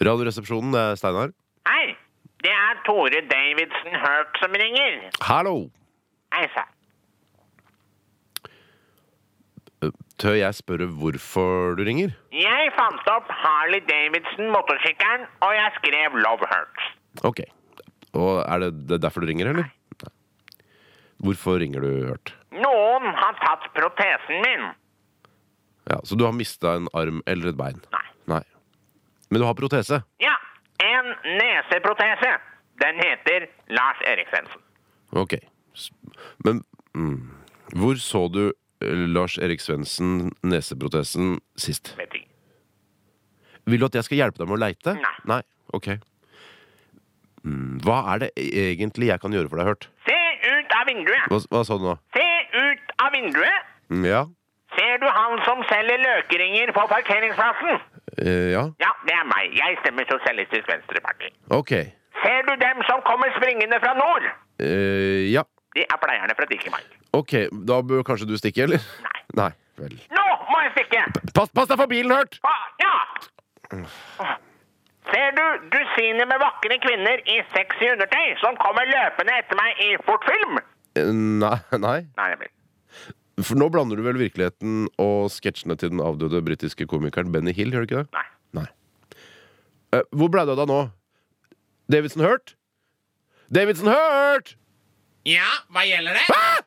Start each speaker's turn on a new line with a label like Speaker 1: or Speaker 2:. Speaker 1: Radioresepsjonen, det er Steinar.
Speaker 2: Hei, det er Tore Davidsen Herp som ringer.
Speaker 1: Hallo!
Speaker 2: Hei sann.
Speaker 1: Tør jeg spørre hvorfor du ringer?
Speaker 2: Jeg fant opp Harley Davidson-motorsykkelen, og jeg skrev Love Hurts.
Speaker 1: Ok. Og er det, det er derfor du ringer, eller? Nei. Hvorfor ringer du, Hørt?
Speaker 2: Noen har tatt protesen min.
Speaker 1: Ja, så du har mista en arm eller et bein?
Speaker 2: Nei.
Speaker 1: Nei. Men du har protese?
Speaker 2: Ja, en neseprotese. Den heter Lars Eriksensen.
Speaker 1: Ok. S- Men mm, hvor så du eh, Lars Erik Svendsen, neseprotesen, sist?
Speaker 2: Vet ikke.
Speaker 1: Vil du at jeg skal hjelpe deg med å leite?
Speaker 2: Nei.
Speaker 1: Nei? Ok. Mm, hva er det egentlig jeg kan gjøre for deg, Hørt?
Speaker 2: Se ut av vinduet!
Speaker 1: Hva, hva sa du nå?
Speaker 2: Se ut av vinduet!
Speaker 1: Mm, Ja.
Speaker 2: Ser du han som selger løkeringer på parkeringsplassen?
Speaker 1: Eh, ja.
Speaker 2: Ja, det er meg. Jeg stemmer Sosialistisk Venstreparti.
Speaker 1: Ok.
Speaker 2: Ser du dem som kommer springende fra nord?
Speaker 1: Eh, ja.
Speaker 2: De er pleierne fra Dikkemark.
Speaker 1: Ok, da bør kanskje du stikke, eller?
Speaker 2: Nei.
Speaker 1: Nei. Vel.
Speaker 2: Nå må jeg stikke!
Speaker 1: Pass, pass deg for bilen, Hørt!
Speaker 2: Ah, ja! Ser du dusiner med vakre kvinner i sexy undertøy som kommer løpende etter meg i fort film?
Speaker 1: Eh, Nei, nei.
Speaker 2: Nei, det blir
Speaker 1: For nå blander du vel virkeligheten og sketsjene til den avdøde britiske komikeren Benny Hill, gjør du ikke det?
Speaker 2: Nei.
Speaker 1: Nei. Eh, hvor ble det av deg nå? Davidson Hurt? Davidson Hurt!
Speaker 2: Ja, hva gjelder det?
Speaker 1: Ah!